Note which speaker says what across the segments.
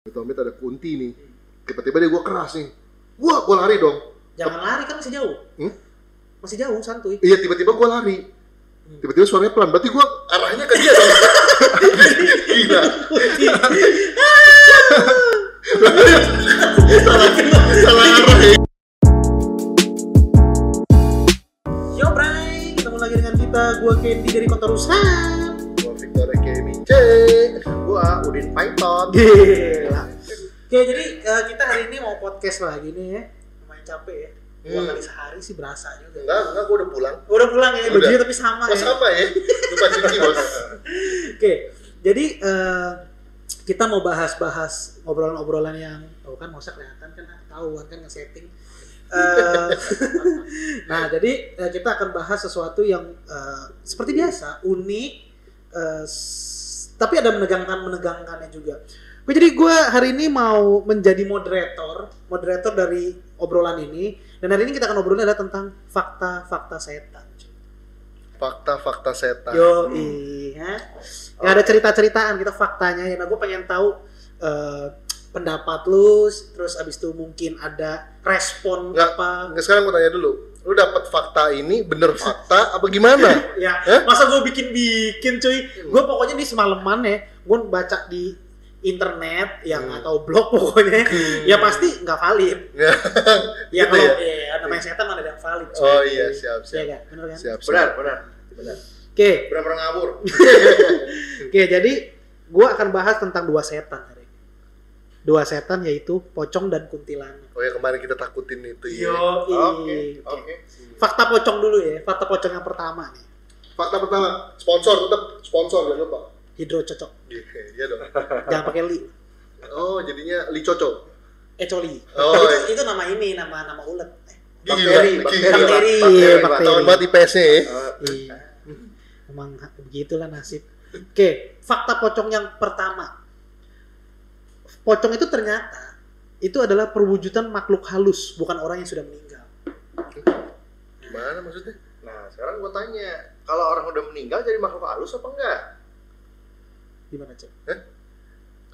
Speaker 1: Amit-amit ada kunti nih. Tiba-tiba dia gue keras nih. Wah, gue lari dong.
Speaker 2: Jangan lari kan masih jauh.
Speaker 1: Hmm?
Speaker 2: Masih jauh santuy.
Speaker 1: Iya, tiba-tiba gue lari. Tiba-tiba suaranya pelan. Berarti gue arahnya ke dia dong. Gila. salah, salah arah ya.
Speaker 2: Yo Bray, ketemu lagi dengan kita. Gua Kendi dari Kota Rusan.
Speaker 1: Gue Victor Eke Mince. Gue Udin Python.
Speaker 2: Gila. Oke, jadi eh, kita hari ini mau podcast lagi nih ya. Lumayan capek ya. Dua
Speaker 1: Hmm.
Speaker 2: kali sehari sih berasa juga.
Speaker 1: Enggak, enggak gue udah pulang.
Speaker 2: Udah pulang ya,
Speaker 1: Udah.
Speaker 2: bajunya tapi sama
Speaker 1: Bos
Speaker 2: ya.
Speaker 1: apa ya? Lupa cuci bos.
Speaker 2: Oke, jadi eh, kita mau bahas-bahas obrolan-obrolan yang tahu kan Mosa kelihatan kan tahu kan nge-setting. Eh, nah, jadi eh, kita akan bahas sesuatu yang eh, seperti biasa unik, eh, s- tapi ada menegangkan menegangkannya juga. Oke, jadi gue hari ini mau menjadi moderator, moderator dari obrolan ini. Dan hari ini kita akan obrolin adalah tentang fakta-fakta setan.
Speaker 1: Fakta-fakta setan.
Speaker 2: Yo, iya. Nggak ada cerita-ceritaan, kita faktanya. Ya, nah, gue pengen tahu eh, pendapat lu, terus abis itu mungkin ada respon
Speaker 1: Nggak.
Speaker 2: apa.
Speaker 1: Nggak, sekarang gue tanya dulu. Lu dapat fakta ini bener fakta apa gimana?
Speaker 2: Ya,
Speaker 1: Hah?
Speaker 2: masa gue bikin-bikin cuy.
Speaker 1: Hmm.
Speaker 2: Gue pokoknya nih semalaman ya, gue baca di internet yang
Speaker 1: Hmm.
Speaker 2: atau blog pokoknya ya pasti nggak valid
Speaker 1: Ya.
Speaker 2: ya
Speaker 1: Gitu
Speaker 2: kalau
Speaker 1: ya?
Speaker 2: ya? namanya setan mana ada yang valid cuy.
Speaker 1: Oh iya, siap,
Speaker 2: Iya
Speaker 1: siap.
Speaker 2: nggak? bener kan
Speaker 1: Siap, siap.
Speaker 3: benar benar benar
Speaker 2: oke
Speaker 3: benar ngawur
Speaker 2: Oke, jadi gua akan bahas tentang dua setan hari ini. Dua setan yaitu pocong dan kuntilanak.
Speaker 1: Oh ya kemarin kita takutin itu ya.
Speaker 2: Yo,
Speaker 3: oke oke
Speaker 2: Fakta pocong dulu ya, fakta pocong yang pertama nih.
Speaker 1: Fakta pertama, sponsor tetap sponsor jangan lupa.
Speaker 2: Hidro cocok,
Speaker 1: Iya, iya dong.
Speaker 2: jangan pakai li.
Speaker 1: Oh, jadinya licoco.
Speaker 2: Eh coli.
Speaker 1: Oh,
Speaker 2: itu, itu nama ini, nama nama ulet. Eh,
Speaker 1: Gila,
Speaker 3: Bakteri, bakteri, Eh,
Speaker 1: gila.
Speaker 2: bakteri, Iya,
Speaker 1: Bakteri,
Speaker 2: bakteri.
Speaker 1: Pak. Tahun banget IPS-nya ya.
Speaker 2: Iya. Emang begitulah nasib. Oke, fakta pocong yang pertama. Pocong itu ternyata itu adalah perwujudan makhluk halus, bukan orang yang sudah meninggal.
Speaker 1: Gimana maksudnya?
Speaker 3: nah sekarang gua tanya kalau orang udah meninggal jadi makhluk halus apa enggak
Speaker 2: Gimana, Cek?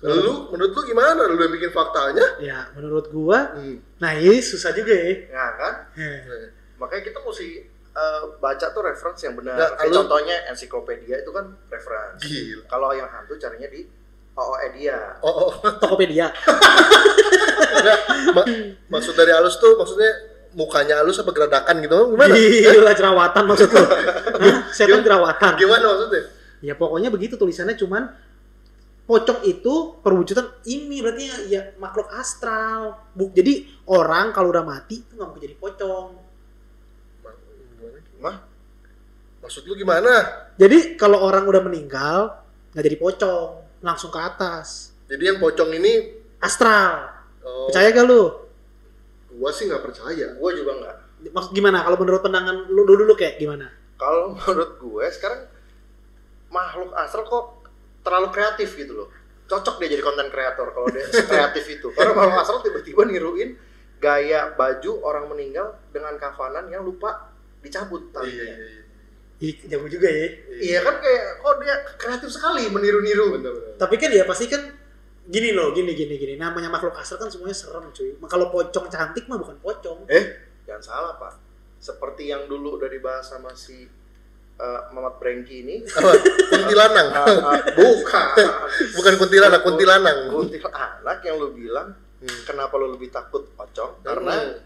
Speaker 1: Lu menurut lu gimana? Lu udah bikin faktanya?
Speaker 2: Ya, menurut gua
Speaker 1: Hmm.
Speaker 2: Nah ini susah juga ya.
Speaker 3: nah kan
Speaker 2: Heh.
Speaker 3: makanya kita mesti eh, baca tuh reference yang benar
Speaker 1: Nggak,
Speaker 3: Kayak
Speaker 1: lu-
Speaker 3: contohnya ensiklopedia itu kan reference
Speaker 1: Gila.
Speaker 3: kalau yang hantu carinya di E ooedia
Speaker 1: Oh, oh.
Speaker 2: Tokopedia.
Speaker 1: Nggak, ma- maksud dari halus tuh maksudnya mukanya halus apa geradakan gitu gimana?
Speaker 2: Iya. Gila jerawatan maksud lu. Hah? Setan jerawatan.
Speaker 1: Gimana maksudnya?
Speaker 2: Ya pokoknya begitu tulisannya cuman pocong itu perwujudan ini berarti ya, ya makhluk astral. Bu, jadi orang kalau udah mati itu nggak mungkin jadi pocong.
Speaker 1: Ma- gimana? Mah? Maksud lu gimana?
Speaker 2: Jadi kalau orang udah meninggal nggak jadi pocong, langsung ke atas.
Speaker 1: Jadi yang pocong ini
Speaker 2: Astral.
Speaker 1: oh,
Speaker 2: Percaya gak lu?
Speaker 1: gua sih nggak percaya.
Speaker 3: gue juga enggak
Speaker 2: Maksud gimana kalau menurut pandangan lu dulu, dulu kayak gimana?
Speaker 3: kalau menurut gue sekarang makhluk astral kok terlalu kreatif gitu loh cocok dia jadi konten kreator kalau dia kreatif itu karena makhluk astral tiba-tiba niruin gaya baju orang meninggal dengan kafanan yang lupa dicabut talinya
Speaker 1: iya.
Speaker 2: Ih, jago juga ya.
Speaker 3: iya kan kayak kok dia kreatif sekali meniru-niru
Speaker 1: Bener-bener.
Speaker 2: Tapi kan ya pasti kan gini loh, gini gini gini. Namanya makhluk astral kan semuanya serem cuy. Kalau pocong cantik mah bukan pocong.
Speaker 3: jangan salah pak seperti yang dulu udah dibahas sama si eh, Mamat Brengki ini
Speaker 1: Apa? Kuntilanang.
Speaker 3: Ah, ah, bukan
Speaker 1: Bukan kuntilanak, kuntilanang.
Speaker 3: kuntilanak yang lu bilang
Speaker 1: Hmm.
Speaker 3: kenapa lu lebih takut pocong karena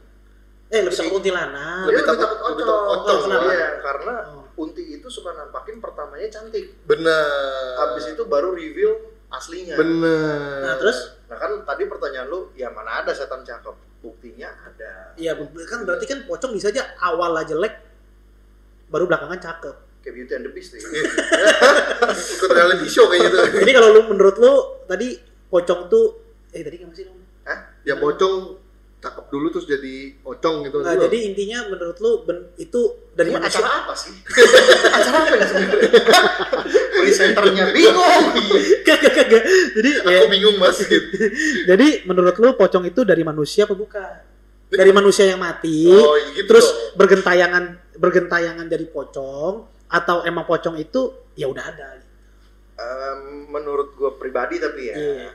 Speaker 2: Eh lebih
Speaker 3: Si-
Speaker 2: takut kuntilanak.
Speaker 1: Lebih
Speaker 3: Lebih
Speaker 1: takut-
Speaker 3: takut
Speaker 1: Iya, lebih takut
Speaker 3: pocong.
Speaker 2: Oh, kenapa?
Speaker 3: Iya, karena
Speaker 2: Oh.
Speaker 3: Unti itu suka nampakin pertamanya cantik.
Speaker 1: bener. Ah.
Speaker 3: Habis itu baru reveal
Speaker 1: ya.
Speaker 3: aslinya.
Speaker 1: bener.
Speaker 2: Nah terus
Speaker 3: Nah kan tadi pertanyaan lu, ya mana ada setan cakep? Buktinya ada.
Speaker 2: ya be- kan berarti kan pocong bisa aja awal aja jelek baru belakangan cakep.
Speaker 3: Kayak Beauty and the Beast tuh.
Speaker 1: Iya. ikut reality show kayak gitu.
Speaker 2: Jadi kalau lu menurut lu tadi pocong tuh eh tadi gimana sih Nom?
Speaker 1: Ya pocong cakep dulu terus jadi pocong gitu.
Speaker 2: Nah, jadi intinya menurut lu ben- itu dari
Speaker 3: Ini
Speaker 2: mana sih?
Speaker 3: acara apa sih? acara apa ini sebenarnya? Presenternya bingung.
Speaker 2: Kagak, kagak. Jadi
Speaker 1: Iya. aku
Speaker 2: ya,
Speaker 1: bingung mas gitu.
Speaker 2: jadi menurut lu pocong itu dari manusia apa bukan? Dari manusia yang mati.
Speaker 1: kan Oh, iya gitu.
Speaker 2: terus bergentayangan bergentayangan dari pocong atau emang pocong itu ya udah ada
Speaker 3: Em, menurut gue pribadi tapi ya,
Speaker 2: Iya.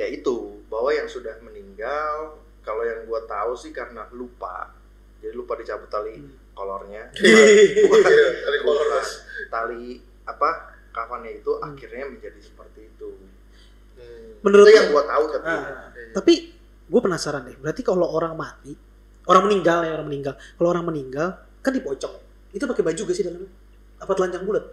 Speaker 3: ya itu bahwa yang sudah meninggal kalau yang gua tahu sih karena lupa jadi lupa dicabut tali
Speaker 2: Hmm.
Speaker 3: kolornya
Speaker 2: Iya.
Speaker 1: Bukan,
Speaker 3: Bukan.
Speaker 1: dari Iya, kolor
Speaker 3: Bukan.
Speaker 1: mas.
Speaker 3: tali apa kafannya itu
Speaker 2: Hmm.
Speaker 3: akhirnya menjadi seperti itu
Speaker 1: Hmm.
Speaker 2: Menurut
Speaker 3: itu yang gua tahu tapi
Speaker 2: Ah.
Speaker 1: Hmm.
Speaker 2: Tapi gue penasaran deh. Berarti kalau orang mati, orang meninggal ya orang meninggal. Kalau orang meninggal kan dipocong. Itu pakai baju gak sih dalamnya? Apa telanjang bulat?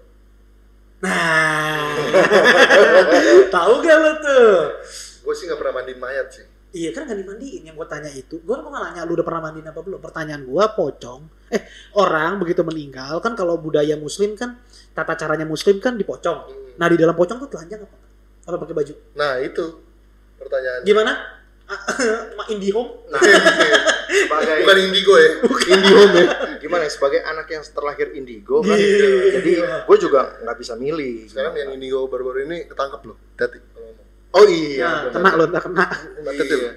Speaker 2: Nah, tahu gak lo tuh?
Speaker 1: gue sih nggak pernah mandiin mayat sih
Speaker 2: Iya kan gak dimandiin yang gue tanya itu. Gue mau nanya lu udah pernah mandiin apa belum? Pertanyaan gue pocong. Eh orang begitu meninggal kan kalau budaya muslim kan tata caranya muslim kan dipocong.
Speaker 1: Hmm.
Speaker 2: Nah di dalam pocong tuh telanjang apa? Apa pakai baju?
Speaker 1: nah itu pertanyaan
Speaker 2: Gimana? Ah, Indihome?
Speaker 3: nah sebagai
Speaker 1: bukan indigo ya indihome ya
Speaker 3: gimana ya, sebagai anak yang terlahir indigo kan
Speaker 2: Gila.
Speaker 3: jadi gue juga nggak bisa
Speaker 1: Iya.
Speaker 3: milih
Speaker 1: sekarang yang indigo baru-baru ini ketangkep loh hati kalau ngomong
Speaker 3: oh iya
Speaker 2: Ya,
Speaker 1: Nah.
Speaker 2: kena lo ntar kena.
Speaker 1: Nggak kecil.
Speaker 3: Iya.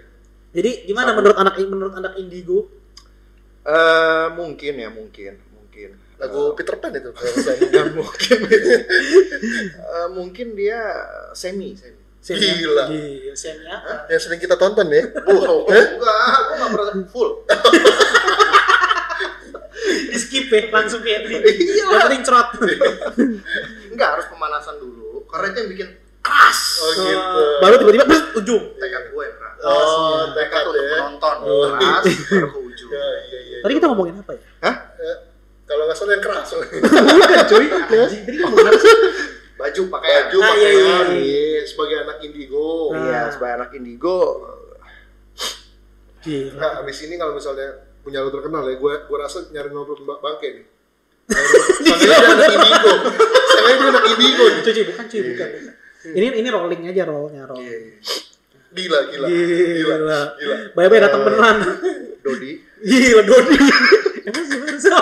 Speaker 2: Jadi gimana menurut anak menurut anak indigo?
Speaker 3: Eh, mungkin ya mungkin mungkin
Speaker 1: lagu
Speaker 3: Eh,
Speaker 1: Peter Pan itu
Speaker 3: dan mungkin Eh, mungkin dia semi semi
Speaker 2: Semnya?
Speaker 1: Gila.
Speaker 2: Gila, semnya.
Speaker 1: yang sering kita tonton ya
Speaker 3: wow enggak gue nggak pernah full
Speaker 2: Di skip ya langsung kayak tadi.
Speaker 1: Iya.
Speaker 2: Yang penting cerot.
Speaker 3: enggak harus pemanasan dulu karena itu yang bikin keras
Speaker 1: Oh, gitu.
Speaker 2: Baru tiba-tiba bus, ujung.
Speaker 3: tekad ya, gue yang keras
Speaker 1: oh
Speaker 2: Iya.
Speaker 3: tekad iya.
Speaker 1: tekad
Speaker 3: untuk
Speaker 1: ya
Speaker 3: menonton
Speaker 1: Oh.
Speaker 3: keras baru ke ujung
Speaker 1: Ya, iya, iya.
Speaker 2: Tadi kita ngomongin apa ya?
Speaker 1: kalau nggak salah yang keras Iya.
Speaker 2: Bukan cuy. Anjing, Tadi ngomongin apa sih?
Speaker 3: baju pakaian
Speaker 1: baju
Speaker 2: Ah, iya,
Speaker 1: pakaian
Speaker 2: iya, iya.
Speaker 1: iya, sebagai anak indigo
Speaker 2: Nah.
Speaker 3: iya sebagai anak indigo
Speaker 2: Gila.
Speaker 1: nah abis ini kalau misalnya punya lo terkenal ya gue gue rasa nyari nomor Mbak bangke nih Soalnya dia anak indigo Soalnya dia anak indigo nih.
Speaker 2: Cuy, cuy, bukan cuy,
Speaker 1: Iya.
Speaker 2: bukan. kan Ini ini rolling aja rollnya roll.
Speaker 1: gila gila gila
Speaker 2: Gila.
Speaker 1: gila Eh.
Speaker 2: Bye-bye datang beneran.
Speaker 3: Dodi
Speaker 2: Gila Dodi. Emang sih bener sih.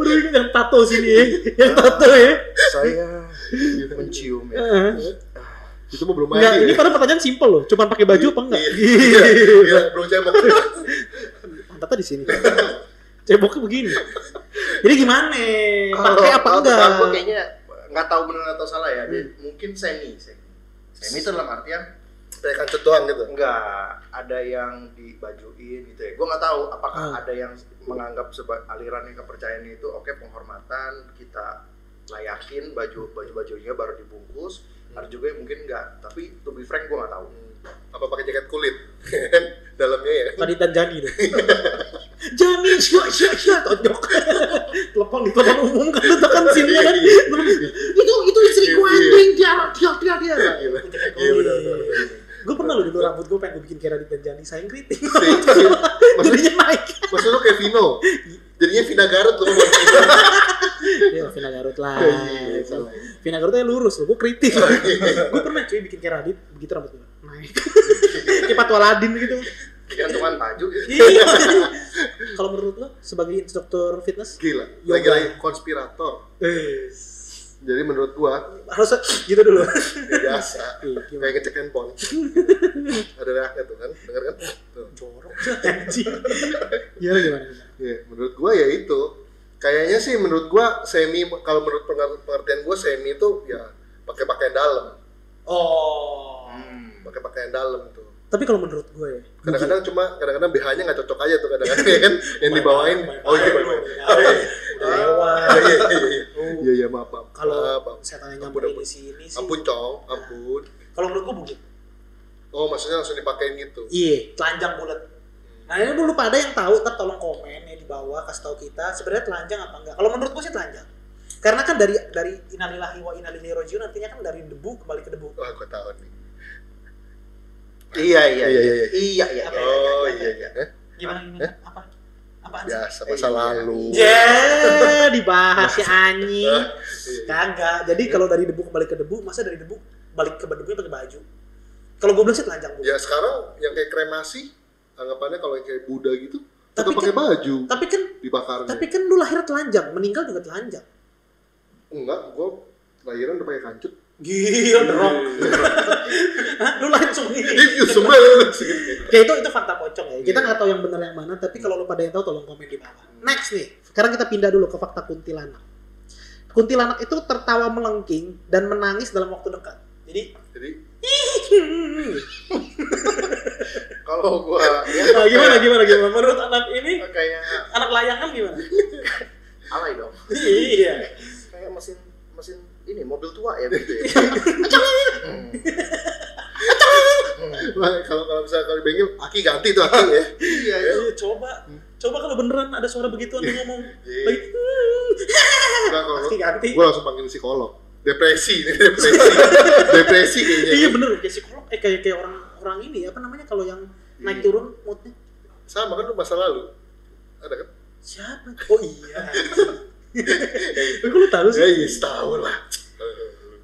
Speaker 2: Baru ingat yang tato sini ya. Yang tato ya.
Speaker 3: saya mencium ya.
Speaker 2: Heeh.
Speaker 1: itu mah belum
Speaker 2: Enggak,
Speaker 1: mandi
Speaker 2: ini
Speaker 1: ya.
Speaker 2: padahal pertanyaan simpel loh. Cuman pakai baju apa enggak?
Speaker 1: Iya, iya, iya, belum cebok
Speaker 2: Pantatnya di sini. Ceboknya begini. Jadi gimana? Pakai apa
Speaker 3: Kalau
Speaker 2: enggak?
Speaker 3: tukang gua kayaknya nggak tahu benar atau salah ya. dia Mungkin semi, semi. Semi itu dalam artian
Speaker 1: kayak kancut doang gitu
Speaker 3: nggak ada yang dibajuin gitu ya. Gua nggak tahu apakah
Speaker 2: Ah.
Speaker 3: ada yang menganggap sebagai aliran yang kepercayaan itu oke penghormatan kita layakin baju baju bajunya baru dibungkus. Ada juga yang mungkin nggak. Tapi to be frank gua nggak tahu.
Speaker 1: apa pakai jaket kulit dalamnya ya
Speaker 2: Tadi dan Jani deh. Jani, syok, syok, syok, tonjok. telepon di telepon umum kan itu kan sini kan. Itu itu istriku
Speaker 1: Iya.
Speaker 2: anjing dia dia dia dia.
Speaker 1: gila
Speaker 2: Oh,
Speaker 1: iya benar benar
Speaker 2: Gue pernah loh dulu rambut gue pengen gue bikin kayak Radit dan Jani, sayang kritik.
Speaker 1: maksud
Speaker 2: Jadinya naik.
Speaker 1: maksud lu kayak Vino jadinya Vina Garut lu ngomong Vino.
Speaker 2: Ya Vina Garut lah. gitu.
Speaker 1: Iya, salah.
Speaker 2: Vina Garut aja lurus loh, gue kritik. gue pernah cuy bikin kayak Radit, begitu rambut gue naik. Kayak patwa Ladin gitu.
Speaker 3: Gantungan baju gitu.
Speaker 2: Iya. Kalau menurut lo sebagai instruktur fitness,
Speaker 1: gila
Speaker 2: Yoga.
Speaker 1: lagi-lagi konspirator
Speaker 2: eh,
Speaker 1: jadi menurut gua
Speaker 2: harus gitu dulu.
Speaker 1: ya biasa
Speaker 2: Iya,
Speaker 1: kayak
Speaker 2: gimana?
Speaker 1: ngecek handphone ada reaknya tuh kan denger kan tuh.
Speaker 2: jorok anjing. Gimana gimana?
Speaker 1: Iya, menurut gua ya itu kayaknya sih menurut gua semi kalau menurut pengar- pengertian gua semi itu ya pakai pakaian dalam
Speaker 2: Oh.
Speaker 3: Hmm.
Speaker 1: pakai pakaian dalam tuh
Speaker 2: Tapi kalau menurut gue ya,
Speaker 1: kadang-kadang cuma kadang-kadang BH-nya nggak cocok aja tuh kadang-kadang ya kan yang dibawain oh iya
Speaker 2: Bye-bye. udah lewat.
Speaker 1: Oh, iya iya iya
Speaker 2: Oh.
Speaker 1: iya iya maaf maaf
Speaker 2: Kalau
Speaker 1: Maaf, maaf.
Speaker 2: saya tanya
Speaker 1: Ampun,
Speaker 2: nyambung
Speaker 1: ampun.
Speaker 2: di sini sih.
Speaker 1: ampun cong ampun
Speaker 2: Kalau menurut gue bukit.
Speaker 1: oh maksudnya langsung dipakein gitu
Speaker 2: Iya, telanjang bulat.
Speaker 1: Hmm.
Speaker 2: Nah ini dulu pada yang tahu, ntar tolong komen ya di bawah kasih tahu kita sebenarnya telanjang apa enggak. Kalau menurut gue sih telanjang. Karena kan dari dari inalillahi wa inalillahi rajiun artinya kan dari debu kembali ke debu.
Speaker 1: wah gua tahu nih
Speaker 3: Iya iya
Speaker 1: Iya,
Speaker 3: iya
Speaker 1: iya,
Speaker 3: iya iya iya.
Speaker 2: Apa ya?
Speaker 1: oh iya iya Eh, Ya,
Speaker 2: Gimana gimana? Apa? Apaan sih?
Speaker 1: biasa masa
Speaker 3: Iya.
Speaker 1: lalu
Speaker 2: Ya, dibahas ya anjing. Kagak. Jadi kalau dari debu kembali ke debu, masa dari debu balik ke debunya pakai baju. Kalau gue bilang sih telanjang bu.
Speaker 1: ya sekarang yang kayak kremasi anggapannya kalau yang kayak Buddha gitu
Speaker 2: Tapi
Speaker 1: tapi pakai
Speaker 2: kan-
Speaker 1: baju
Speaker 2: Tapi kan
Speaker 1: dibakarnya
Speaker 2: tapi kan lu lahir telanjang, meninggal juga telanjang.
Speaker 1: enggak gua lahiran udah pakai kancut
Speaker 2: Iya. Gila,
Speaker 1: Hmm.
Speaker 2: drop. Hah? lu langsung
Speaker 1: if
Speaker 2: ini.
Speaker 1: you smell
Speaker 2: Kayak itu itu fakta pocong ya. Kita nggak tahu yang benar yang mana, tapi kalau lu pada yang tahu tolong komen di bawah. Next nih. Sekarang kita pindah dulu ke fakta kuntilanak. Kuntilanak itu tertawa melengking dan menangis dalam waktu dekat. Jadi
Speaker 3: kalau gua ya,
Speaker 2: Nah, gimana gimana gimana? Menurut anak ini
Speaker 3: kayak
Speaker 2: anak layangan gimana?
Speaker 3: alay dong
Speaker 2: iya.
Speaker 3: kayak mesin mesin ini mobil tua ya gitu ya Hmm. Hmm.
Speaker 1: Wah, kalau kalau misalnya kalau di bengkel aki ganti tuh aki ya
Speaker 3: iya itu
Speaker 2: Iya, coba coba kalau beneran ada suara begituan dia ngomong
Speaker 1: Iya.
Speaker 2: lagi "Hmm."
Speaker 1: Enggak, kalau
Speaker 2: pasti ganti.
Speaker 1: gue langsung panggil psikolog depresi ini depresi depresi kayaknya
Speaker 2: Iya bener kayak psikolog eh kayak kayak orang orang ini apa namanya kalau yang
Speaker 1: Iya.
Speaker 2: naik turun moodnya
Speaker 1: sama kan lu masa lalu ada kan
Speaker 2: siapa? Oh iya. Kok lu tahu
Speaker 1: ya
Speaker 2: sih?
Speaker 1: iya setahun lah